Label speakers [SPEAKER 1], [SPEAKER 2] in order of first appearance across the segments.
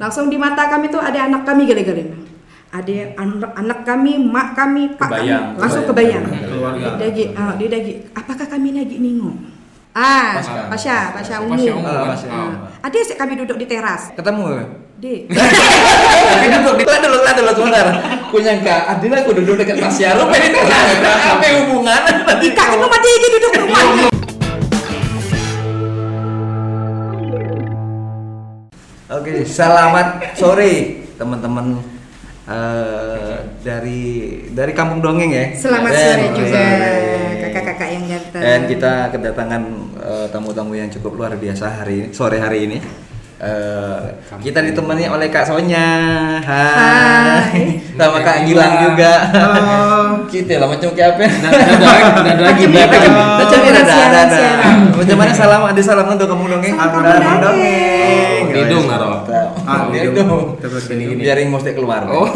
[SPEAKER 1] Langsung di mata kami tuh ada anak kami gede-gede. Ada an- anak kami, mak kami, pak
[SPEAKER 2] Kebayang.
[SPEAKER 1] kami. Langsung kebayang.
[SPEAKER 3] Keluarga.
[SPEAKER 1] Dia lagi, ah, dia lagi, apakah kami lagi ningok? Ah,
[SPEAKER 4] Pasca.
[SPEAKER 1] Pasha, Pasha
[SPEAKER 4] Pasha
[SPEAKER 1] Ungu.
[SPEAKER 4] Ungu.
[SPEAKER 3] Ah,
[SPEAKER 4] kan?
[SPEAKER 3] Pasha.
[SPEAKER 4] Ah.
[SPEAKER 1] Ada sih kami duduk di teras.
[SPEAKER 3] Ketemu.
[SPEAKER 1] Di.
[SPEAKER 3] Tapi duduk di dulu, lah dulu sebentar. Ku nyangka, adil aku duduk dekat Mas Yaru, pengen teras. Apa hubungan?
[SPEAKER 1] Ika itu mati ini duduk di rumah.
[SPEAKER 3] Iya, Oke, selamat sore teman-teman eh, dari dari kampung dongeng ya.
[SPEAKER 1] Selamat
[SPEAKER 3] Dan-
[SPEAKER 1] sore juga
[SPEAKER 3] Sore.
[SPEAKER 1] kakak-kakak yang ganteng.
[SPEAKER 3] Dan kita kedatangan eh, tamu-tamu yang cukup luar biasa hari ini, sore hari ini. Eh, kita ditemani oleh Kak Sonya. Hai. Sama
[SPEAKER 4] Oke,
[SPEAKER 3] Kak Gilang
[SPEAKER 4] Gilang.
[SPEAKER 3] juga.
[SPEAKER 1] Oh.
[SPEAKER 3] Kita Gitu lah macam kayak apa? Iya,
[SPEAKER 4] Dan ada lagi- dan ada lagi
[SPEAKER 1] Macam
[SPEAKER 3] kan?
[SPEAKER 4] belakang.
[SPEAKER 1] itu.
[SPEAKER 3] Macam ini ada ada ada.
[SPEAKER 1] Siaran-siaran.
[SPEAKER 3] Macam mana salam ada salam untuk kamu dongeng?
[SPEAKER 1] Salam
[SPEAKER 3] Ada
[SPEAKER 1] kampung dongeng.
[SPEAKER 4] Didung, Naro.
[SPEAKER 3] Ah, didung. Biarin mostek keluar.
[SPEAKER 4] Oh.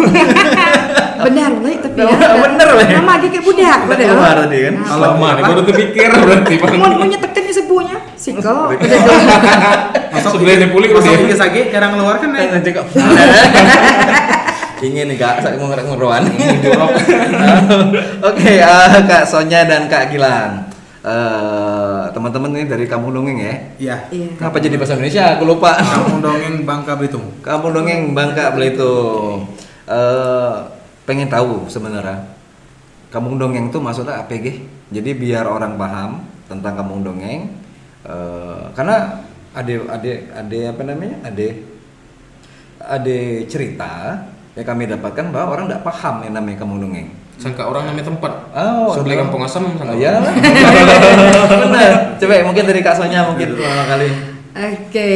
[SPEAKER 1] Benar, Lek, tapi ya.
[SPEAKER 3] Bener, Lek.
[SPEAKER 1] Nama dia kayak budak. Ah,
[SPEAKER 3] Bener
[SPEAKER 1] padahal.
[SPEAKER 3] keluar tadi kan?
[SPEAKER 1] Nah,
[SPEAKER 4] Alamak, ini baru kepikir berarti Bang.
[SPEAKER 1] Mau mau nyetekin sebuahnya, singkong.
[SPEAKER 3] Iya.
[SPEAKER 4] Masuk dulu nih pulik
[SPEAKER 3] Masuk
[SPEAKER 4] udah.
[SPEAKER 3] dikit.
[SPEAKER 2] Sage jarang keluar kan
[SPEAKER 3] Nah, nanti kok. Ingin nih kak, saya mau ngerek-ngeruan. Oke, eh, kak Sonya dan kak Gilang. Eh, teman-teman ini dari Kampung Dongeng ya. Ah,
[SPEAKER 2] Iya.
[SPEAKER 1] Iya.
[SPEAKER 3] Kenapa jadi bahasa Indonesia? Aku lupa.
[SPEAKER 2] Kampung dongeng Bangka Belitung.
[SPEAKER 3] Kampung Dongeng Bangka Belitung. Eh, pengen tahu sebenarnya Kampung Dongeng itu maksudnya APG. Jadi biar orang paham tentang Kampung Dongeng. Eh, karena ade ade ade apa namanya? Ade ade cerita yang kami dapatkan bahwa orang tidak paham yang namanya Kampung Dongeng.
[SPEAKER 4] Sangka orang namanya tempat.
[SPEAKER 3] Oh,
[SPEAKER 4] Sebelah
[SPEAKER 3] ada-
[SPEAKER 4] kampung asam sangka.
[SPEAKER 3] Oh, iya. Benar. Coba ya, mungkin dari Kak Sonya mungkin pertama kali.
[SPEAKER 1] Oke,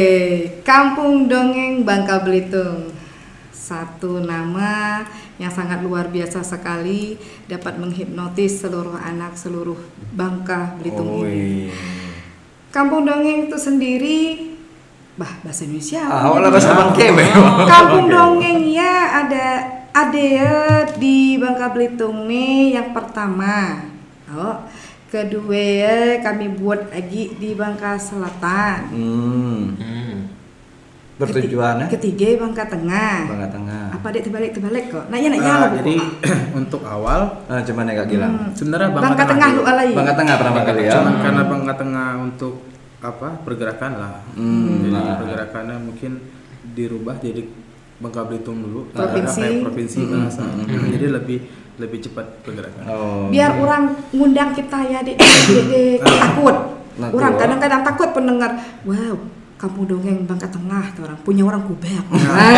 [SPEAKER 1] Kampung Dongeng Bangka Belitung. Satu nama yang sangat luar biasa sekali dapat menghipnotis seluruh anak seluruh Bangka
[SPEAKER 3] Oh,
[SPEAKER 1] Belitung ini.
[SPEAKER 3] iya. Oi.
[SPEAKER 1] Kampung Dongeng itu sendiri bah bahasa Indonesia. apa
[SPEAKER 3] Ah,
[SPEAKER 1] ya?
[SPEAKER 3] awalnya bahasa Bangke, memang.
[SPEAKER 1] Kampung
[SPEAKER 3] Oke.
[SPEAKER 1] Dongeng ya ada ada ya di Bangka Belitung nih yang pertama. Oh, kedua ya kami buat lagi di Bangka Selatan.
[SPEAKER 3] Hmm.
[SPEAKER 4] Hmm.
[SPEAKER 3] Bertujuan ya?
[SPEAKER 1] Ketiga Bangka Tengah.
[SPEAKER 3] Bangka Tengah.
[SPEAKER 1] Apa dek terbalik terbalik kok? Nah, iya, Nanya nanya
[SPEAKER 2] Ah,
[SPEAKER 1] lu
[SPEAKER 2] jadi untuk awal
[SPEAKER 3] Ah, cuman ya Kak Gilang.
[SPEAKER 2] sebenarnya
[SPEAKER 1] Hmm. Bangka, Tengah lu alai.
[SPEAKER 3] Bangka Tengah pertama kali ya.
[SPEAKER 2] Cuman karena Bangka Tengah untuk apa pergerakan lah.
[SPEAKER 3] Hmm,
[SPEAKER 2] jadi
[SPEAKER 3] nah.
[SPEAKER 2] pergerakannya mungkin dirubah jadi Bangka Belitung dulu.
[SPEAKER 1] Provinsi.
[SPEAKER 2] Karena kayak provinsi bahasa.
[SPEAKER 3] hmm.
[SPEAKER 2] Jadi lebih lebih cepat pergerakan.
[SPEAKER 3] Oh.
[SPEAKER 1] biar orang ngundang kita ya dek dek dek takut
[SPEAKER 3] Nah,
[SPEAKER 1] orang
[SPEAKER 3] tuh.
[SPEAKER 1] kadang-kadang takut pendengar wow kamu dongeng bangka tengah tuh orang punya orang kubek
[SPEAKER 3] Nah.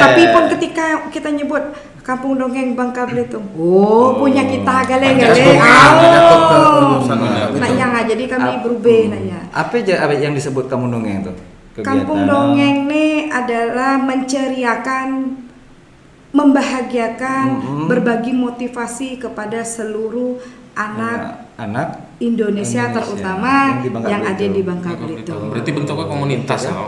[SPEAKER 1] tapi pun ketika kita nyebut kampung dongeng bangka belitung oh, punya kita galeng galeng
[SPEAKER 2] Ada
[SPEAKER 1] oh
[SPEAKER 2] kekelulusan Bangka
[SPEAKER 1] nah
[SPEAKER 2] Belitung.
[SPEAKER 1] ya jadi kami
[SPEAKER 3] Ap-
[SPEAKER 1] berubah
[SPEAKER 3] hmm.
[SPEAKER 1] nah ya
[SPEAKER 3] Apa aja apa yang disebut kamu dongeng itu?
[SPEAKER 1] Kampung Dongeng nih adalah menceriakan, membahagiakan,
[SPEAKER 3] Mm-mm.
[SPEAKER 1] berbagi motivasi kepada seluruh anak
[SPEAKER 3] anak
[SPEAKER 1] Indonesia,
[SPEAKER 3] Indonesia,
[SPEAKER 1] terutama
[SPEAKER 3] yang di Bangka
[SPEAKER 1] yang ada
[SPEAKER 3] Belitung.
[SPEAKER 1] di Bangka
[SPEAKER 4] Bangka Belitung.
[SPEAKER 1] Belitung.
[SPEAKER 4] gitu. Berarti bentuknya komunitas
[SPEAKER 3] Iya.
[SPEAKER 4] ya.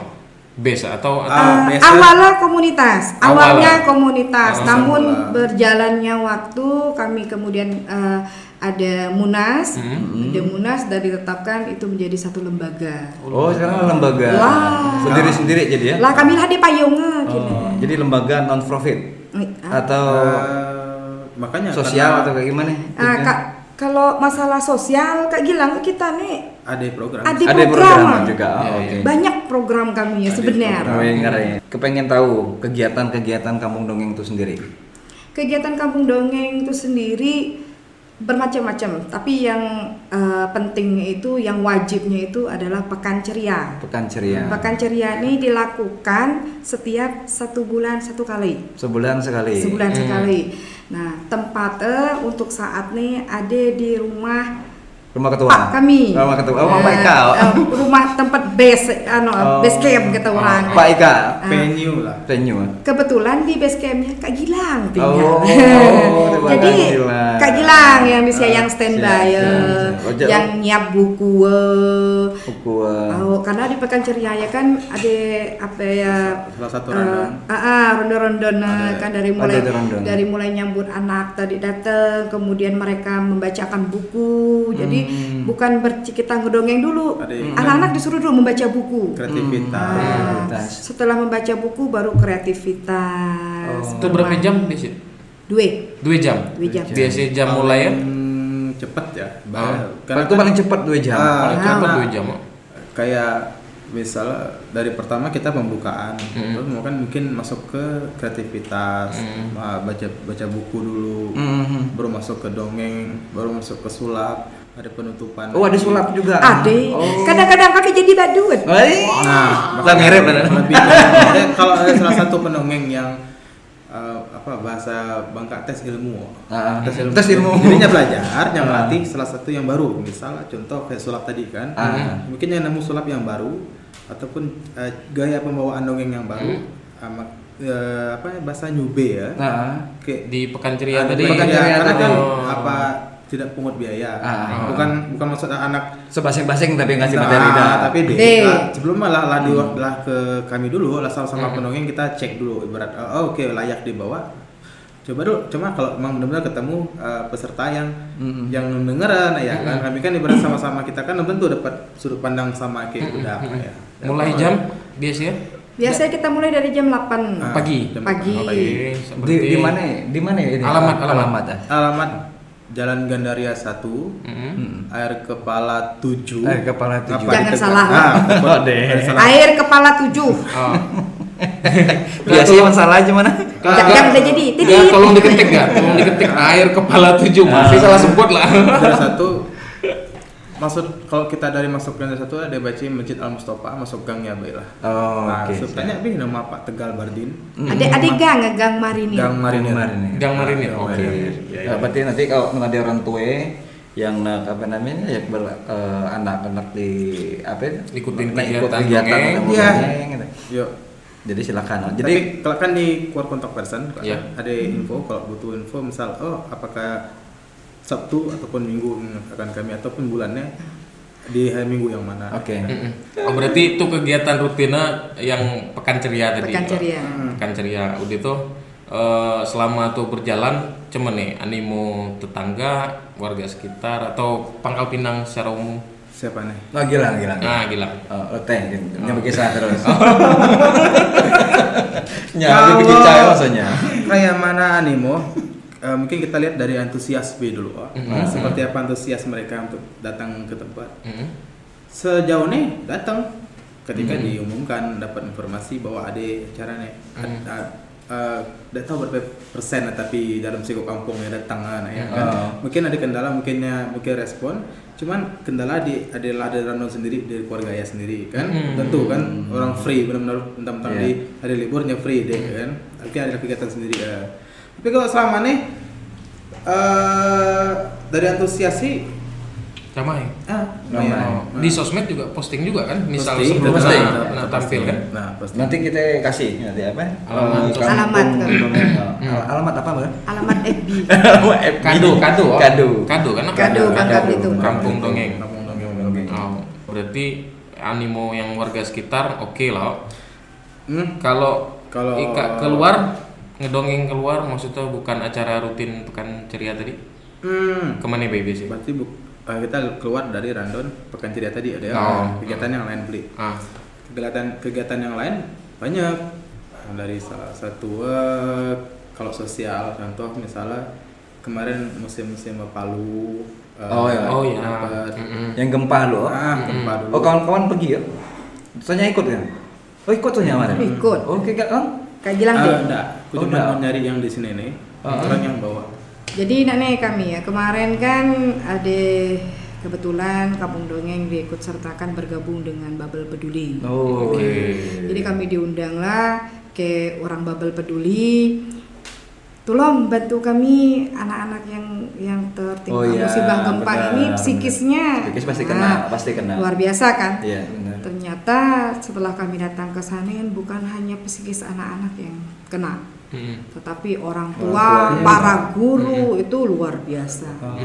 [SPEAKER 4] Base atau atau
[SPEAKER 1] Eh,
[SPEAKER 2] Ah. biasa-
[SPEAKER 1] awalnya komunitas, awalnya
[SPEAKER 4] Awalnya.
[SPEAKER 1] komunitas,
[SPEAKER 4] Awalnya
[SPEAKER 1] namun
[SPEAKER 2] semula.
[SPEAKER 1] berjalannya waktu kami kemudian eh, ada munas,
[SPEAKER 4] Hmm.
[SPEAKER 1] ada munas dan ditetapkan itu menjadi satu lembaga.
[SPEAKER 3] Oh, sekarang lembaga.
[SPEAKER 1] Lah.
[SPEAKER 3] Sendiri-sendiri jadi ya.
[SPEAKER 1] Lah kami lah di gitu. payungan, gini.
[SPEAKER 3] Oh, jadi lembaga non profit
[SPEAKER 1] Eh, ah.
[SPEAKER 3] atau
[SPEAKER 2] Eh, makanya
[SPEAKER 3] sosial atau
[SPEAKER 2] karena
[SPEAKER 3] kayak gimana?
[SPEAKER 1] Ah, Kak, kalau masalah sosial, Kak Gilang kita nih
[SPEAKER 2] ada program.
[SPEAKER 1] ada
[SPEAKER 3] Ada
[SPEAKER 1] program,
[SPEAKER 3] program juga. Oh,
[SPEAKER 4] Iya,
[SPEAKER 3] oke.
[SPEAKER 4] iya.
[SPEAKER 1] banyak program kami ya
[SPEAKER 2] Eh. Ada
[SPEAKER 1] sebenarnya.
[SPEAKER 2] program.
[SPEAKER 3] Oh, yang ngarang ya. Kepengen tahu kegiatan-kegiatan kampung dongeng itu sendiri.
[SPEAKER 1] Kegiatan kampung dongeng itu sendiri bermacam-macam, tapi yang eh, pentingnya itu, yang wajibnya itu adalah pekan ceria.
[SPEAKER 3] Pekan
[SPEAKER 2] Ya.
[SPEAKER 3] ceria.
[SPEAKER 1] Pekan ceria ini dilakukan setiap satu bulan satu kali.
[SPEAKER 3] Sebulan
[SPEAKER 2] Eh.
[SPEAKER 3] sekali.
[SPEAKER 1] sebulan
[SPEAKER 4] Hmm.
[SPEAKER 1] sekali. Nah, tempatnya untuk saat ini ada di rumah
[SPEAKER 3] Rumah ketua.
[SPEAKER 1] Pak Ah, kami.
[SPEAKER 3] Rumah ketua. Oh, Pak
[SPEAKER 1] Eh,
[SPEAKER 3] Ika.
[SPEAKER 1] eh, rumah tempat base ano
[SPEAKER 3] Oh.
[SPEAKER 1] base camp kata orang.
[SPEAKER 3] Pak Ika.
[SPEAKER 2] venue lah.
[SPEAKER 3] Venue.
[SPEAKER 1] Kebetulan di base campnya Kak Gilang tinggal.
[SPEAKER 3] Oh, terima
[SPEAKER 1] Jadi
[SPEAKER 3] kasih, Gilang. Ah,
[SPEAKER 1] Kak Gilang yang bisa yang
[SPEAKER 3] siap,
[SPEAKER 1] standby, ya,
[SPEAKER 3] siap, siap. Ojek, Ah.
[SPEAKER 1] yang nyiap buku. eh.
[SPEAKER 3] Buku.
[SPEAKER 1] Oh, karena di pekan ceria ya kan ada apa ya
[SPEAKER 2] Salah satu
[SPEAKER 1] eh,
[SPEAKER 2] random.
[SPEAKER 1] ah, ah, ronde-ronde nah,
[SPEAKER 2] Ada.
[SPEAKER 1] kan dari mulai
[SPEAKER 3] Ada ronde-ronde.
[SPEAKER 1] dari mulai nyambut anak tadi datang kemudian mereka membacakan buku jadi bukan berci- kita ngedongeng dulu.
[SPEAKER 2] Hmm. Ada yang-
[SPEAKER 1] Anak-anak disuruh dulu membaca buku.
[SPEAKER 2] kreativitas.
[SPEAKER 1] Nah,
[SPEAKER 3] Kreativitas.
[SPEAKER 1] setelah membaca buku baru kreativitas.
[SPEAKER 2] Oh.
[SPEAKER 4] Itu berapa jam biasa?
[SPEAKER 1] Dua.
[SPEAKER 4] Dua jam.
[SPEAKER 1] Dua jam.
[SPEAKER 4] Biasanya jam
[SPEAKER 3] Ah.
[SPEAKER 4] mulai ya?
[SPEAKER 2] Hmm, cepet ya.
[SPEAKER 3] Oh.
[SPEAKER 4] Ah.
[SPEAKER 3] Karena itu paling cepat dua jam.
[SPEAKER 2] Ah,
[SPEAKER 4] Paling cepat
[SPEAKER 2] karena
[SPEAKER 4] dua jam. oh.
[SPEAKER 2] Kayak misalnya dari pertama kita pembukaan,
[SPEAKER 3] Hmm.
[SPEAKER 4] Mm.
[SPEAKER 2] terus kan mungkin masuk ke kreativitas,
[SPEAKER 3] Hmm.
[SPEAKER 4] Mm.
[SPEAKER 2] ah, baca baca buku dulu,
[SPEAKER 3] Mhm.
[SPEAKER 2] baru masuk ke dongeng, baru masuk ke sulap, ada penutupan.
[SPEAKER 3] Oh ada
[SPEAKER 2] lagi.
[SPEAKER 3] sulap juga.
[SPEAKER 1] Ade.
[SPEAKER 2] Oh.
[SPEAKER 1] Kadang-kadang kami jadi badut.
[SPEAKER 3] Wih.
[SPEAKER 2] Nah,
[SPEAKER 3] Lah, mirip, bener.
[SPEAKER 2] lebih maksudnya kalau ada salah satu pendongeng yang eh, apa bahasa Bangka tes ilmu.
[SPEAKER 3] Ah, tes ilmu.
[SPEAKER 2] Jadinya belajar, yang
[SPEAKER 3] Ah.
[SPEAKER 2] melatih salah satu yang baru. Misalnya contoh kayak sulap tadi kan.
[SPEAKER 3] Ah.
[SPEAKER 2] Mungkin yang nemu sulap yang baru ataupun eh, gaya pembawaan dongeng yang baru sama eh, apa ya, bahasa nyube ya.
[SPEAKER 3] Nah,
[SPEAKER 2] Kayak
[SPEAKER 4] Di pekan ceria
[SPEAKER 3] Ah,
[SPEAKER 2] ada
[SPEAKER 4] tadi.
[SPEAKER 2] pekerjaan,
[SPEAKER 3] Pekerjaan Oh.
[SPEAKER 2] karena kan
[SPEAKER 4] tadi.
[SPEAKER 2] apa tidak pungut biaya.
[SPEAKER 3] Ah.
[SPEAKER 2] Bukan bukan maksud anak
[SPEAKER 3] sebasing-basing tapi ngasih
[SPEAKER 2] Nah,
[SPEAKER 3] materi dah. Hmm.
[SPEAKER 2] tapi deh,
[SPEAKER 1] Deh.
[SPEAKER 2] lah, sebelum malah lah, di- lah ke kami dulu lah sama-sama pendongeng kita cek dulu ibarat oh, oke layak dibawa coba dulu cuma kalau memang benar-benar ketemu eh, peserta yang
[SPEAKER 3] Mm-mm.
[SPEAKER 2] yang dengeran ya
[SPEAKER 3] Hmm.
[SPEAKER 2] kan kami kan ibarat sama-sama kita kan tentu dapat sudut pandang sama kayak
[SPEAKER 3] Hmm.
[SPEAKER 2] udah ya.
[SPEAKER 4] Mulai
[SPEAKER 2] Ya,
[SPEAKER 4] jam biasanya?
[SPEAKER 1] Biasanya kita mulai dari jam 8.
[SPEAKER 3] Hmm.
[SPEAKER 2] Ah,
[SPEAKER 4] pagi.
[SPEAKER 2] jam
[SPEAKER 1] Pagi.
[SPEAKER 2] delapan
[SPEAKER 4] Oke,
[SPEAKER 3] Di,
[SPEAKER 4] seperti-
[SPEAKER 3] di mana? ya? Di mana ya ini?
[SPEAKER 4] Alamat, alamat.
[SPEAKER 3] ah.
[SPEAKER 2] alamat Jalan Gandaria 1
[SPEAKER 4] Mm-mm.
[SPEAKER 2] air kepala 7
[SPEAKER 3] Hmm. Air Kepala Tujuh.
[SPEAKER 1] Jangan salah.
[SPEAKER 2] nah,
[SPEAKER 3] Oh, deh.
[SPEAKER 1] Air kepala tujuh.
[SPEAKER 4] Oh.
[SPEAKER 3] Biasanya masalah aja mana?
[SPEAKER 1] Jangan jangan udah jadi.
[SPEAKER 4] Ya,
[SPEAKER 1] Tidit.
[SPEAKER 4] tolong diketik ya, tolong diketik air kepala tujuh masih salah sebut lah.
[SPEAKER 2] dari satu maksud kalau kita dari masuk gang dari satu ada baca masjid al mustafa masuk gangnya baiklah
[SPEAKER 3] Oh,
[SPEAKER 2] nah
[SPEAKER 3] oke.
[SPEAKER 2] sebetulnya bih nama pak tegal bardin
[SPEAKER 1] Ada ada gang Hmm. gang Marini.
[SPEAKER 2] Hmm. gang marinir
[SPEAKER 3] Kemarin ya.
[SPEAKER 4] Gang Marinir,
[SPEAKER 2] Ah,
[SPEAKER 4] oke.
[SPEAKER 2] Marinir. Ya, ya.
[SPEAKER 3] Ya, berarti nanti kalau ada orang tua yang nak apa namanya ya ber, eh, anak-anak di apa ya?
[SPEAKER 4] Ikutin
[SPEAKER 3] Nah, ikut
[SPEAKER 4] kegiatan
[SPEAKER 3] kegiatan
[SPEAKER 4] dongeng.
[SPEAKER 3] anak
[SPEAKER 2] Iya.
[SPEAKER 3] dongeng, gitu.
[SPEAKER 2] yuk
[SPEAKER 3] jadi silakan
[SPEAKER 2] jadi
[SPEAKER 3] jadi
[SPEAKER 2] kalau kan di keluar kontak person kalau
[SPEAKER 4] Iya.
[SPEAKER 2] ada info kalau butuh info misal oh apakah sabtu ataupun minggu akan kami ataupun bulannya di hari minggu yang mana
[SPEAKER 3] oke
[SPEAKER 4] Mm-mm. Oh berarti itu kegiatan rutina yang pekan ceria tadi. ya?
[SPEAKER 1] Pekan ceria.
[SPEAKER 4] Pekan ceria. Udah itu eh, selama tuh berjalan cuman nih animo tetangga, warga sekitar atau pangkal pinang secara umum.
[SPEAKER 2] siapa nih
[SPEAKER 3] oh gila gila gila.
[SPEAKER 4] Nah, gila.
[SPEAKER 3] Oh, lo teh nyampe kisah terus nyampe
[SPEAKER 2] Kalau-
[SPEAKER 3] bikin cahaya Iya, maksudnya
[SPEAKER 2] kayak mana animo eh, mungkin kita lihat dari antusias B dulu oh. Nah, seperti apa antusias mereka untuk datang ke tempat
[SPEAKER 4] Mm-mm.
[SPEAKER 2] sejauh nih datang
[SPEAKER 3] Hmm.
[SPEAKER 2] ketika diumumkan dapat informasi bahwa ada acara nih
[SPEAKER 3] Hmm.
[SPEAKER 2] Ad- ad- eh, tidak tahu berapa persen lah, tapi dalam sego kampung yang datang lah, nah, ya kan
[SPEAKER 3] Oh.
[SPEAKER 2] mungkin ada kendala mungkinnya mungkin respon cuman kendala di adalah ada random sendiri dari keluarga ayah sendiri kan
[SPEAKER 4] Mm.
[SPEAKER 2] tentu kan orang free benar-benar tentang
[SPEAKER 3] Hmm. Yeah. Hmm.
[SPEAKER 2] di hari liburnya free deh kan tapi ada kegiatan sendiri ya. tapi kalau selama nih eh dari antusias sih
[SPEAKER 4] Sama ya.
[SPEAKER 2] ah,
[SPEAKER 3] Ramai.
[SPEAKER 2] lumayan.
[SPEAKER 4] Oh, Di sosmed juga posting juga kan, misal
[SPEAKER 2] Posting,
[SPEAKER 4] sebelum
[SPEAKER 3] posting.
[SPEAKER 4] pernah- pernah tampil kan.
[SPEAKER 2] Nah, pasti.
[SPEAKER 3] nanti kita kasih nanti apa
[SPEAKER 4] Alamat. Hmm.
[SPEAKER 3] Eh, kampung-
[SPEAKER 1] Alamat, kan.
[SPEAKER 3] kampung- oh. al- alamat apa mbak
[SPEAKER 1] Alamat FB.
[SPEAKER 3] Wah, FB.
[SPEAKER 4] Kado, kado, oh.
[SPEAKER 3] kado
[SPEAKER 4] kado kan? apa?
[SPEAKER 1] Kado, Bangka Belitung.
[SPEAKER 4] Kampung dongeng.
[SPEAKER 2] Kampung dongeng. Kampung dongeng.
[SPEAKER 4] Oh, berarti animo yang warga sekitar oke lah. oh.
[SPEAKER 2] Hmm.
[SPEAKER 4] Kalau
[SPEAKER 2] Kalau-
[SPEAKER 4] Ika keluar ngedongeng keluar maksudnya bukan acara rutin pekan ceria tadi.
[SPEAKER 2] Hmm.
[SPEAKER 4] Kemana baby sih?
[SPEAKER 2] Berarti bu, eh, kita keluar dari rundown pekan ceria tadi ada ya,
[SPEAKER 4] Oh.
[SPEAKER 2] kegiatan yang lain beli.
[SPEAKER 4] Ah,
[SPEAKER 2] Kegiatan kegiatan yang lain banyak dari salah satu eh, kalau sosial contoh misalnya kemarin musim-musim Palu eh,
[SPEAKER 3] Oh, iya.
[SPEAKER 4] oh ya.
[SPEAKER 2] dapat-
[SPEAKER 4] Mm-mm.
[SPEAKER 3] yang gempa lo
[SPEAKER 2] Hmm. ah gempa dulu
[SPEAKER 3] Oh kawan-kawan pergi ya? Soalnya ikut ya? Oh ikut soalnya kemarin?
[SPEAKER 1] Ikut.
[SPEAKER 3] Oke kak kan?
[SPEAKER 1] Kayak Gilang
[SPEAKER 2] Ah,
[SPEAKER 1] deh.
[SPEAKER 2] enggak aku
[SPEAKER 3] Oh,
[SPEAKER 2] cuma
[SPEAKER 3] enggak.
[SPEAKER 2] mau nyari yang di sini nih
[SPEAKER 3] Ah.
[SPEAKER 2] orang yang bawa
[SPEAKER 1] Jadi nak nih kami ya kemarin kan ada kebetulan Kampung Dongeng diikut sertakan bergabung dengan Babel Peduli.
[SPEAKER 3] Oh,
[SPEAKER 4] Oke.
[SPEAKER 1] Jadi kan- kami diundanglah ke orang Babel Peduli. Tolong bantu kami anak-anak yang yang tertimpa
[SPEAKER 3] Oh, iya,
[SPEAKER 1] musibah gempa
[SPEAKER 3] benar,
[SPEAKER 1] ini
[SPEAKER 3] benar.
[SPEAKER 1] psikisnya.
[SPEAKER 3] Psikis pasti
[SPEAKER 1] Nah,
[SPEAKER 3] kena, pasti kena.
[SPEAKER 1] Luar biasa kan?
[SPEAKER 3] Iya benar.
[SPEAKER 1] Ternyata setelah kami datang ke sana bukan hanya psikis anak-anak yang kena,
[SPEAKER 4] Mm-mm.
[SPEAKER 1] tetapi orang
[SPEAKER 3] Orang
[SPEAKER 1] tua, iya. Ah.
[SPEAKER 3] tuanya.
[SPEAKER 1] para guru itu luar biasa.
[SPEAKER 3] Oh,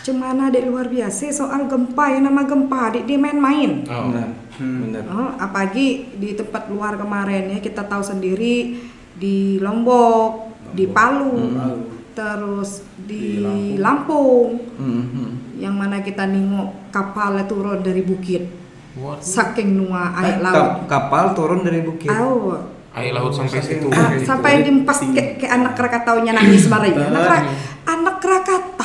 [SPEAKER 1] Cuman ada luar biasa soal gempa ya nama gempa, adik dia main-main.
[SPEAKER 4] Oh.
[SPEAKER 3] Benar,
[SPEAKER 2] Hmm.
[SPEAKER 3] benar.
[SPEAKER 1] Oh, apalagi di tempat luar kemarin ya kita tahu sendiri di Lombok, di Palu,
[SPEAKER 2] Palu.
[SPEAKER 1] terus di,
[SPEAKER 2] Di
[SPEAKER 1] Lampung.
[SPEAKER 3] Hmm, hmm.
[SPEAKER 1] yang mana kita nengok kapal turun dari bukit
[SPEAKER 4] Wah,
[SPEAKER 1] saking nua air
[SPEAKER 3] Ka-
[SPEAKER 1] laut
[SPEAKER 3] kapal turun dari bukit.
[SPEAKER 1] Au.
[SPEAKER 4] air laut sampai situ.
[SPEAKER 1] Ah,
[SPEAKER 4] gitu.
[SPEAKER 1] sampai dimpas ke, ke anak Krakatau nya nangis mari anak, Kra- anak Krakatau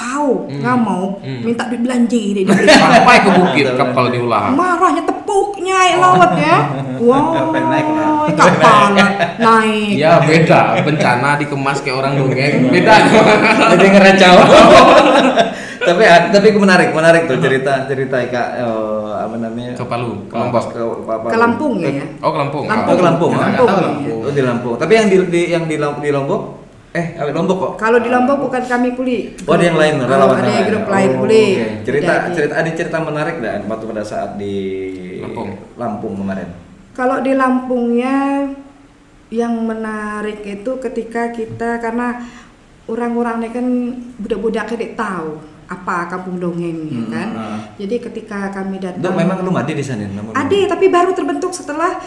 [SPEAKER 3] Hmm.
[SPEAKER 1] nggak mau minta duit belanja deh di Jepang.
[SPEAKER 4] sampai ke bukit kapal
[SPEAKER 3] Ah.
[SPEAKER 4] diulah.
[SPEAKER 1] marahnya tepuknya air laut ya wow
[SPEAKER 2] Kapal naik, ya.
[SPEAKER 1] kapal naik
[SPEAKER 3] Iya.
[SPEAKER 4] Ya beda, bencana dikemas kayak orang dongeng. Beda.
[SPEAKER 3] jadi ngeracau tapi tapi menarik menarik
[SPEAKER 2] Ah.
[SPEAKER 3] tuh cerita cerita Ika eh, apa namanya
[SPEAKER 4] Ke Palu, ke
[SPEAKER 3] Ke-
[SPEAKER 4] Lombok.
[SPEAKER 3] ke, apa-
[SPEAKER 1] ke Lampung ya ya?
[SPEAKER 4] Oh ke Lampung.
[SPEAKER 1] Lampung.
[SPEAKER 3] oh ke Lampung
[SPEAKER 2] Nggak
[SPEAKER 1] Lampung.
[SPEAKER 2] tahu
[SPEAKER 1] ya.
[SPEAKER 2] Lampung.
[SPEAKER 3] oh di Lampung tapi yang di, di- yang di, Lam- di Lombok eh apa, Lombok kok
[SPEAKER 1] kalau di Lombok bukan kami kuli
[SPEAKER 3] Oh ada yang lain,
[SPEAKER 1] Oh,
[SPEAKER 3] relawan
[SPEAKER 1] ada yang
[SPEAKER 3] lain.
[SPEAKER 1] grup lain
[SPEAKER 3] Oh,
[SPEAKER 1] kuli
[SPEAKER 3] oke. Cerita
[SPEAKER 1] Jadi,
[SPEAKER 3] cerita ada cerita menarik dan waktu pada saat di
[SPEAKER 4] Lampung.
[SPEAKER 3] Lampung kemarin.
[SPEAKER 1] Kalau di Lampungnya yang menarik itu ketika kita karena orang-orangnya kan budak-budaknya dia tahu apa kampung dongeng ya kan.
[SPEAKER 2] ah.
[SPEAKER 1] Jadi ketika kami datang
[SPEAKER 3] Itu memang lu mati di sana nama lu?
[SPEAKER 1] Ade tapi baru terbentuk setelah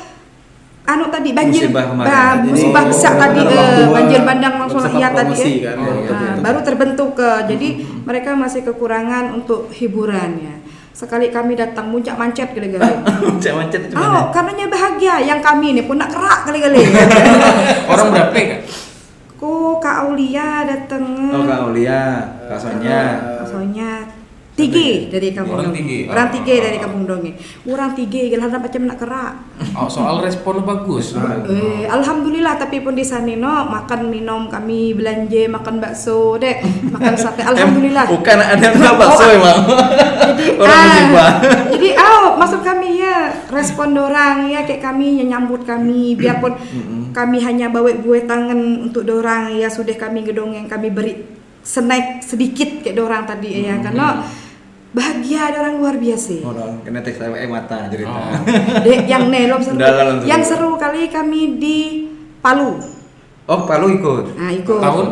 [SPEAKER 1] anu tadi banjir
[SPEAKER 3] Musibah kemarin.
[SPEAKER 1] ba-
[SPEAKER 3] Jadi,
[SPEAKER 1] musibah
[SPEAKER 3] oh,
[SPEAKER 1] besar tadi
[SPEAKER 3] benar,
[SPEAKER 1] eh,
[SPEAKER 2] waktu, eh,
[SPEAKER 1] banjir bandang langsung
[SPEAKER 2] sempat
[SPEAKER 1] iya tadi
[SPEAKER 2] promosi
[SPEAKER 1] ya.
[SPEAKER 2] kan,
[SPEAKER 4] Oh,
[SPEAKER 2] waktu
[SPEAKER 1] Nah,
[SPEAKER 2] itu.
[SPEAKER 1] baru terbentuk ke. Jadi mereka masih kekurangan untuk hiburannya. Sekali kami datang muncak mancet gara-gara.
[SPEAKER 3] Cek macet cuma.
[SPEAKER 1] Oh, karenanya bahagia yang kami ini pun nak kerak kali-kali.
[SPEAKER 4] Orang berapa kan?
[SPEAKER 1] Ku Kak Aulia datang.
[SPEAKER 3] Oh Kak Aulia, Kak Sonya.
[SPEAKER 1] Soalnya tinggi dari kampung
[SPEAKER 4] Orang
[SPEAKER 1] Dongeng.
[SPEAKER 4] tinggi.
[SPEAKER 1] Orang
[SPEAKER 4] Ah.
[SPEAKER 1] tinggi dari kampung Dongeng. Orang tinggi gelar macam nak kerak.
[SPEAKER 4] Oh soal responnya bagus.
[SPEAKER 3] Ah,
[SPEAKER 1] Eh, alhamdulillah tapi pun di sana no makan minum kami belanja makan bakso dek makan sate Eh, alhamdulillah. Oh,
[SPEAKER 3] Em, Bukan ada yang nggak bakso emang. Orang
[SPEAKER 1] Ah,
[SPEAKER 3] musibah.
[SPEAKER 1] jadi oh maksud kami ya respon dorang ya kayak kami yang nyambut kami biarpun kami hanya bawa buah tangan untuk dorang ya sudah kami gedong yang kami beri snack sedikit kayak dorang tadi ya karena bahagia dorang luar
[SPEAKER 3] Oh,
[SPEAKER 1] biasa.
[SPEAKER 3] no. kena teks eh, mata cerita.
[SPEAKER 4] Oh.
[SPEAKER 1] Dek, yang nelom seru.
[SPEAKER 3] Dalam seru.
[SPEAKER 1] Yang seru kali kami di Palu.
[SPEAKER 3] Oh, Palu ikut.
[SPEAKER 1] Nah, ikut.
[SPEAKER 4] Tahun?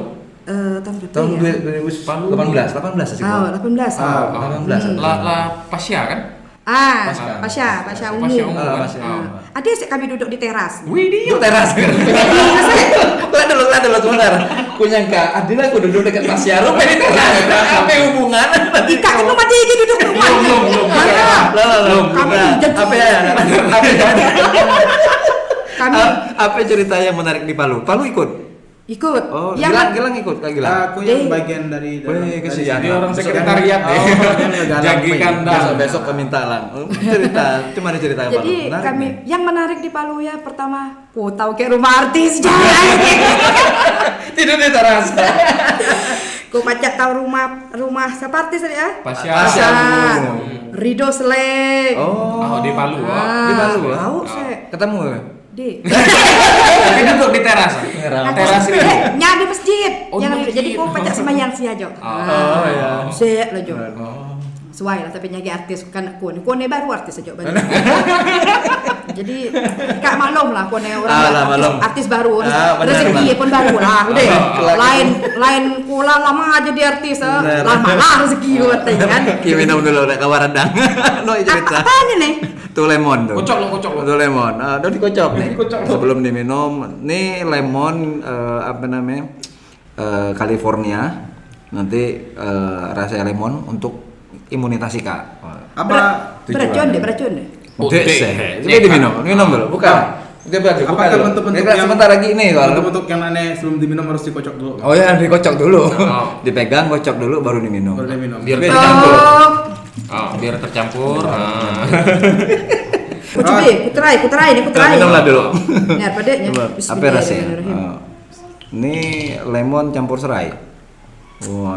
[SPEAKER 1] Eh, tahun berapa
[SPEAKER 3] Tahun
[SPEAKER 1] ya?
[SPEAKER 3] 2018, 18 sih.
[SPEAKER 1] Oh, 18.
[SPEAKER 3] Ah,
[SPEAKER 1] Ah,
[SPEAKER 3] 18.
[SPEAKER 4] La la Pasya kan?
[SPEAKER 1] ah
[SPEAKER 3] Pasca.
[SPEAKER 1] Pasha, Pasha Ungu.
[SPEAKER 4] Pasya Ungu
[SPEAKER 3] Ah,
[SPEAKER 4] kan?
[SPEAKER 3] Pasya.
[SPEAKER 4] Ah.
[SPEAKER 1] Ah, Ada sih kami duduk di teras.
[SPEAKER 4] Widih.
[SPEAKER 3] Itu teras kan. Lah dulu, lah dulu sebentar. Ku nyangka Adil aku duduk dekat Tasya Rupa di teras. Apa hubungan?
[SPEAKER 1] Ika kan rumah dia dia duduk di rumah.
[SPEAKER 4] Belum, belum, Iya. belum.
[SPEAKER 1] Mana?
[SPEAKER 3] Lah lah lah.
[SPEAKER 1] Kamu
[SPEAKER 3] Nah,
[SPEAKER 1] jadi-
[SPEAKER 3] Apa ya? Apa ya?
[SPEAKER 1] Kami
[SPEAKER 4] Eh,
[SPEAKER 3] A- Apa cerita yang menarik di Palu? Palu ikut.
[SPEAKER 1] ikut.
[SPEAKER 3] Oh,
[SPEAKER 1] Yang
[SPEAKER 3] Gilang, Gilang ikut, Kak Gilang.
[SPEAKER 2] Ah, Aku
[SPEAKER 1] Eh.
[SPEAKER 2] yang bagian dari
[SPEAKER 3] Weh, kesian.
[SPEAKER 4] Jadi orang
[SPEAKER 2] dari-
[SPEAKER 4] sekretariat
[SPEAKER 2] Oh,
[SPEAKER 4] ya.
[SPEAKER 2] yang ngegalang
[SPEAKER 4] Jagi
[SPEAKER 2] pay.
[SPEAKER 4] kandang.
[SPEAKER 3] Besok besok peminta lang. Oh, Cerita, cuma ada
[SPEAKER 4] Iya,
[SPEAKER 3] cerita yang Palu.
[SPEAKER 1] jadi
[SPEAKER 3] Menarik
[SPEAKER 1] kami
[SPEAKER 3] nih.
[SPEAKER 1] yang menarik di Palu ya pertama, oh tahu kayak rumah artis jangan.
[SPEAKER 3] tidur di teras.
[SPEAKER 1] Kau pacak tahu rumah rumah siapa artis tadi ya?
[SPEAKER 4] Pasya.
[SPEAKER 3] Pasya.
[SPEAKER 1] Ah,
[SPEAKER 4] Hmm.
[SPEAKER 1] Rido Sele.
[SPEAKER 4] Oh
[SPEAKER 3] Oh,
[SPEAKER 4] di Palu.
[SPEAKER 1] Ah,
[SPEAKER 3] Di Palu, ya?
[SPEAKER 1] Tahu
[SPEAKER 4] Ah.
[SPEAKER 1] saya.
[SPEAKER 3] ketemu. ya?
[SPEAKER 1] Dek.
[SPEAKER 4] Eh, Tapi duduk di teras. Teras ini.
[SPEAKER 1] Eh, nya di masjid.
[SPEAKER 4] Oh, di
[SPEAKER 1] yang
[SPEAKER 4] masjid.
[SPEAKER 1] jadi kau pacak semayang sih aja.
[SPEAKER 4] Oh, iya.
[SPEAKER 1] Sek lah Jo. Ah,
[SPEAKER 3] Oh.
[SPEAKER 1] Sesuai lah tapi nyagi artis kan aku ni. Kau ni baru artis aja banyak. Jadi kak maklum lah kau ni orang
[SPEAKER 3] Ah, lah, maklum.
[SPEAKER 1] artis baru.
[SPEAKER 3] Ah, benar,
[SPEAKER 1] Rezeki
[SPEAKER 3] Bang.
[SPEAKER 1] dia pun baru lah. Udah.
[SPEAKER 3] Ah, kelak.
[SPEAKER 1] Lain lain kula lama aja di artis. ah.
[SPEAKER 3] Benar.
[SPEAKER 1] Lama lah rezeki kau kata kan.
[SPEAKER 3] Ki minum dulu nak kawar rendang. Lo cerita.
[SPEAKER 1] Apa apanya nih?
[SPEAKER 3] Tuh lemon tuh.
[SPEAKER 4] Kocok lo, kocok lo.
[SPEAKER 3] Tuh lemon. Ah, udah dikocok nih. Sebelum diminum, nih lemon eh, apa namanya? eh, California. Nanti eh, rasanya lemon untuk imunitas si Kak.
[SPEAKER 2] Apa
[SPEAKER 1] Beracun deh, beracun deh.
[SPEAKER 4] Oh,
[SPEAKER 3] Dek,
[SPEAKER 4] dek.
[SPEAKER 3] seh. Ini diminum, minum dulu. Buka. Oke, Bang, buka
[SPEAKER 2] Apakah
[SPEAKER 3] dulu.
[SPEAKER 2] bentuk-bentuk
[SPEAKER 3] Ini kan
[SPEAKER 2] yang-
[SPEAKER 3] sebentar lagi ini kalau
[SPEAKER 2] Untuk bentuk yang aneh sebelum diminum harus dikocok dulu.
[SPEAKER 3] Oh ya, dikocok dulu.
[SPEAKER 4] Oh.
[SPEAKER 3] Dipegang, kocok dulu baru diminum.
[SPEAKER 2] Baru diminum.
[SPEAKER 4] Biar
[SPEAKER 3] Oke,
[SPEAKER 4] tercampur.
[SPEAKER 1] Oh,
[SPEAKER 4] Oh, biar tercampur. Ah.
[SPEAKER 3] Iya.
[SPEAKER 1] kucubi, kuterai, kuterai, nih
[SPEAKER 3] Nah,
[SPEAKER 1] kuterai.
[SPEAKER 3] minumlah dulu.
[SPEAKER 1] Nih, apa deknya?
[SPEAKER 3] Coba, apa
[SPEAKER 1] ya.
[SPEAKER 3] rasanya?
[SPEAKER 1] Bismillahirrahmanirrahim.
[SPEAKER 3] Oh. Ini lemon campur serai. Wah,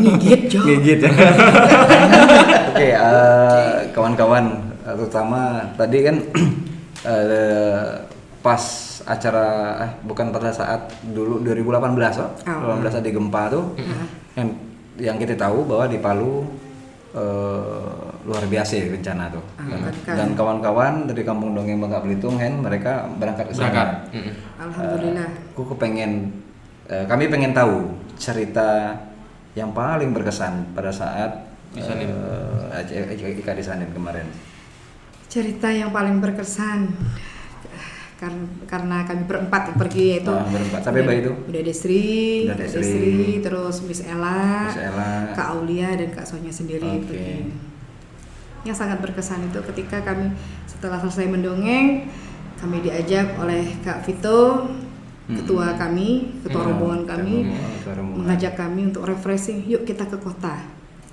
[SPEAKER 1] Ngigit, Jo.
[SPEAKER 3] gigit ya. Oke, eh, kawan-kawan, terutama tadi kan eh, pas acara eh, bukan pada saat dulu 2018 oh,
[SPEAKER 1] Oh.
[SPEAKER 3] 2018 ada gempa tuh,
[SPEAKER 1] Mm-hmm.
[SPEAKER 3] yang yang kita tahu bahwa di Palu eh, luar biasa ya bencana tuh.
[SPEAKER 1] Ah, kan.
[SPEAKER 3] Dan kawan-kawan dari kampung dongeng Bangka Belitung, Hen, mereka berangkat ke sana. Eh,
[SPEAKER 4] Berangkat. Mm-mm.
[SPEAKER 1] Alhamdulillah.
[SPEAKER 3] Aku kepengen, eh, kami pengen tahu cerita yang paling berkesan pada saat
[SPEAKER 4] Disanin.
[SPEAKER 3] eh, Ika- Ika Ika disanin kemarin.
[SPEAKER 1] Cerita yang paling berkesan karena, karena kami berempat yang pergi yaitu
[SPEAKER 3] Ah, berempat. Siapa yang baik itu?
[SPEAKER 1] Udah Desri,
[SPEAKER 3] Udah
[SPEAKER 1] Kak
[SPEAKER 3] Desri.
[SPEAKER 1] terus Miss Ella,
[SPEAKER 3] Miss Ella.
[SPEAKER 1] Kak Aulia dan Kak Sonya sendiri
[SPEAKER 3] Oke.
[SPEAKER 1] pergi. Yang sangat berkesan itu ketika kami setelah selesai mendongeng, kami diajak oleh Kak Vito, ketua kami, ketua
[SPEAKER 4] Hmm.
[SPEAKER 1] rombongan kami,
[SPEAKER 3] Oh, itu Hmm. Iya, rombongan.
[SPEAKER 1] mengajak kami untuk refreshing. Yuk kita ke kota.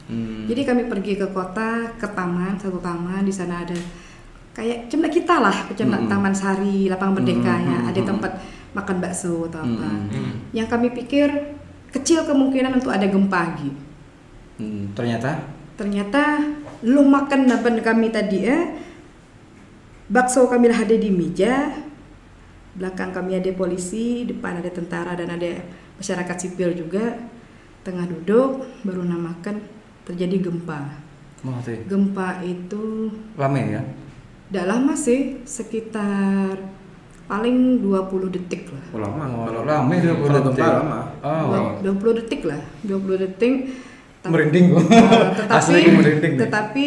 [SPEAKER 2] Hmm.
[SPEAKER 1] Jadi kami pergi ke kota, ke taman, satu taman di sana ada kayak cemna kita lah, cemna
[SPEAKER 4] Hmm.
[SPEAKER 1] Taman Sari, Lapangan Merdeka ya, ada tempat makan bakso atau apa.
[SPEAKER 4] Hmm.
[SPEAKER 1] Yang kami pikir kecil kemungkinan untuk ada gempa gitu.
[SPEAKER 3] Hmm, ternyata
[SPEAKER 1] Ternyata lu makan naban kami tadi ya. Bakso kami lah ada di meja. Belakang kami ada polisi, depan ada tentara dan ada masyarakat sipil juga. Tengah duduk, baru namakan terjadi gempa.
[SPEAKER 3] mau teh
[SPEAKER 1] Gempa itu
[SPEAKER 3] lama ya
[SPEAKER 1] tidak lama sih, sekitar paling 20 detik lah.
[SPEAKER 2] Oh, lama.
[SPEAKER 3] Oh,
[SPEAKER 2] Kalau
[SPEAKER 3] lama ya,
[SPEAKER 2] Hmm, kalau
[SPEAKER 3] berarti.
[SPEAKER 2] gempa lama.
[SPEAKER 3] oh,
[SPEAKER 1] Dua- 20 detik lah, 20 detik. Tapi-
[SPEAKER 3] merinding gua
[SPEAKER 1] Nah, tetapi,
[SPEAKER 3] asli merinding nih.
[SPEAKER 1] Tetapi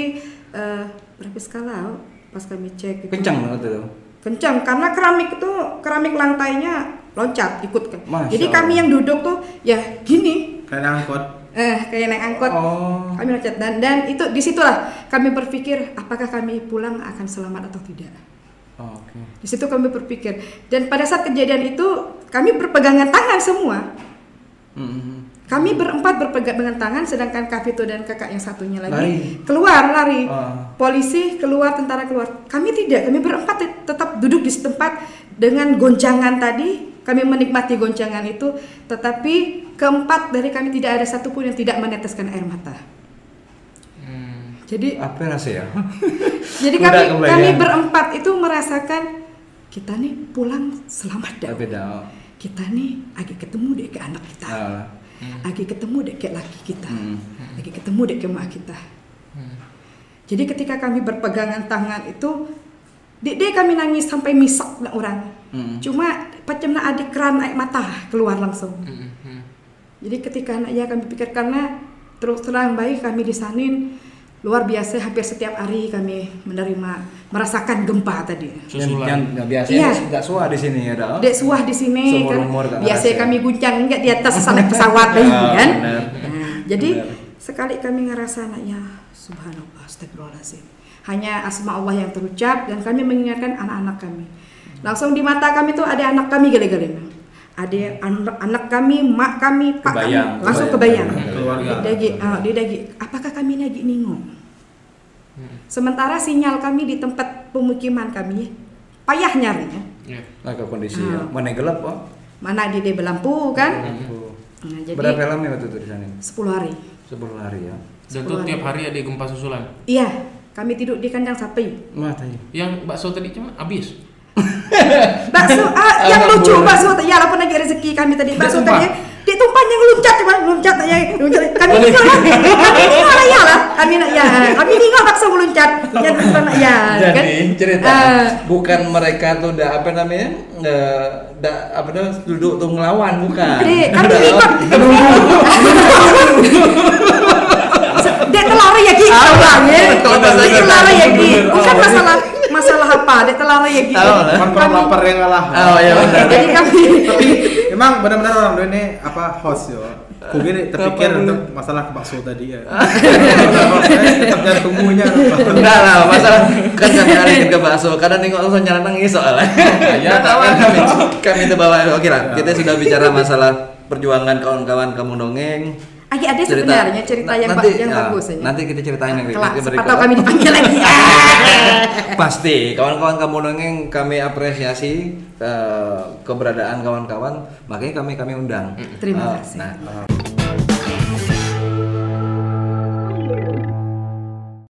[SPEAKER 1] eh, berapa skala oh, pas kami cek itu.
[SPEAKER 3] kencang banget itu
[SPEAKER 1] Kencang karena keramik itu keramik lantainya loncat ikut kan.
[SPEAKER 3] Masya
[SPEAKER 1] Jadi kami
[SPEAKER 3] Allah.
[SPEAKER 1] yang duduk tuh ya gini
[SPEAKER 2] Kayak angkot.
[SPEAKER 1] eh kayak naik angkot.
[SPEAKER 3] oh
[SPEAKER 1] Kami loncat dan dan itu disitulah kami berpikir apakah kami pulang akan selamat atau tidak.
[SPEAKER 3] Oh, oke
[SPEAKER 1] Di situ kami berpikir dan pada saat kejadian itu kami berpegangan tangan semua.
[SPEAKER 3] Mm-mm.
[SPEAKER 1] Kami berempat berpegangan tangan sedangkan Kavito dan kakak yang satunya lagi
[SPEAKER 3] Lari.
[SPEAKER 1] keluar lari.
[SPEAKER 3] Ah.
[SPEAKER 1] Polisi keluar, tentara keluar. Kami tidak, kami berempat te- tetap duduk di tempat dengan goncangan tadi. Kami menikmati goncangan itu, tetapi keempat dari kami tidak ada satupun yang tidak meneteskan air mata.
[SPEAKER 3] Hmm.
[SPEAKER 1] Jadi
[SPEAKER 3] apa rasanya
[SPEAKER 1] jadi
[SPEAKER 3] Udah
[SPEAKER 1] kami
[SPEAKER 3] kebayang.
[SPEAKER 1] kami berempat itu merasakan kita nih pulang selamat dah.
[SPEAKER 3] tapi dah
[SPEAKER 1] Kita nih lagi ketemu deh ke anak kita.
[SPEAKER 3] Ah.
[SPEAKER 1] Lagi ketemu deh ke laki kita.
[SPEAKER 3] Hmm.
[SPEAKER 1] Lagi ketemu deh ke mak kita. Jadi ketika kami berpegangan tangan itu dek dek kami nangis sampai misak nak orang.
[SPEAKER 3] Hmm.
[SPEAKER 1] Cuma pacem nak ada keran air mata keluar langsung.
[SPEAKER 4] Hmm, hmm.
[SPEAKER 1] Jadi ketika anak ya kami pikir karena terus terang baik kami disanin luar biasa hampir setiap hari kami menerima merasakan gempa tadi.
[SPEAKER 4] Susulan.
[SPEAKER 3] yang nggak biasa
[SPEAKER 1] Iya.
[SPEAKER 3] nggak suah di sini ya dah
[SPEAKER 1] Dek suah di sini
[SPEAKER 3] Seumur
[SPEAKER 1] kan
[SPEAKER 3] umur tak
[SPEAKER 1] biasa
[SPEAKER 3] ngerasa.
[SPEAKER 1] kami guncang enggak di atas sana pesawat lagi
[SPEAKER 3] Ah,
[SPEAKER 1] kan.
[SPEAKER 3] benar.
[SPEAKER 1] Nah, jadi
[SPEAKER 3] Benar.
[SPEAKER 1] sekali kami ngerasa anaknya subhanallah astagfirullahaladzim. Hanya asma Allah yang terucap dan kami mengingatkan anak-anak kami. Langsung di mata kami tuh ada anak kami gale-gale. Ada an- anak kami, mak kami, pak
[SPEAKER 3] Kebayang,
[SPEAKER 1] kami. Langsung
[SPEAKER 3] kebayang.
[SPEAKER 1] kebayang.
[SPEAKER 2] Keluarga.
[SPEAKER 1] Dia lagi, ah, dia lagi, apakah kami lagi ningok?
[SPEAKER 3] Hmm.
[SPEAKER 1] Sementara sinyal kami di tempat pemukiman kami payah nyarinya.
[SPEAKER 4] Ya.
[SPEAKER 3] nah ke kondisi
[SPEAKER 1] Ah.
[SPEAKER 3] ya. mana gelap oh
[SPEAKER 1] Mana di dia belampu kan? Nah, jadi
[SPEAKER 3] Hmm. berapa lama waktu itu di sana
[SPEAKER 1] 10 hari.
[SPEAKER 3] sebelum hari ya
[SPEAKER 4] Dan tuh tiap hari ada gempa susulan.
[SPEAKER 1] Iya, kami tidur di kandang sapi.
[SPEAKER 3] mata ya
[SPEAKER 4] Yang bakso tadi cuma habis.
[SPEAKER 1] Bakso ah, yang lucu bakso tadi ya pernah lagi rezeki kami tadi bakso
[SPEAKER 4] tumpah.
[SPEAKER 1] tadi dia tumpah yang loncat cuma loncat ya loncat kami ninggal lah kami ninggal lah ya lah kami nak ya kami ninggal bakso meloncat ya tumpah nak ya kan?
[SPEAKER 3] Jadi cerita
[SPEAKER 1] Ah,
[SPEAKER 3] bukan mereka tuh udah apa namanya eh, dah apa namanya duduk tuh ngelawan bukan.
[SPEAKER 1] Dek, kami kan ngikut. Dek telara ya Ki. Abang ya.
[SPEAKER 3] Kalau bahasa
[SPEAKER 1] Dek
[SPEAKER 3] kita.
[SPEAKER 1] telara ya Ki.
[SPEAKER 3] Bener.
[SPEAKER 1] Bukan masalah masalah apa, Dek telara ya Ki.
[SPEAKER 3] Tahu lah.
[SPEAKER 2] Kan
[SPEAKER 1] Kami-
[SPEAKER 2] pernah lapar yang kalah.
[SPEAKER 3] Oh ya benar.
[SPEAKER 1] Jadi kami
[SPEAKER 2] Emang benar-benar orang Indo ini apa host yo. Mungkin terpikir untuk masalah bakso tadi ya. Tetap jangan tunggunya.
[SPEAKER 3] Enggak lah, masalah kan kami hari ini ke bakso karena nengok langsung nyala nangis soalnya. Ya tahu kami kami itu bawa oke lah. Kita sudah bicara masalah perjuangan kawan-kawan kamu dongeng.
[SPEAKER 1] Aki ada sebenarnya cerita yang
[SPEAKER 3] nanti,
[SPEAKER 1] ba- yang
[SPEAKER 3] ya,
[SPEAKER 1] bagus ya.
[SPEAKER 3] Nanti kita ceritain yang
[SPEAKER 1] kelak
[SPEAKER 3] berikut-
[SPEAKER 1] siapa tahu kami dipanggil lagi.
[SPEAKER 3] pasti kawan-kawan kamu dongeng kami apresiasi eh, keberadaan kawan-kawan makanya kami kami undang
[SPEAKER 1] Terima
[SPEAKER 3] Eh,
[SPEAKER 1] kasih.
[SPEAKER 3] nah,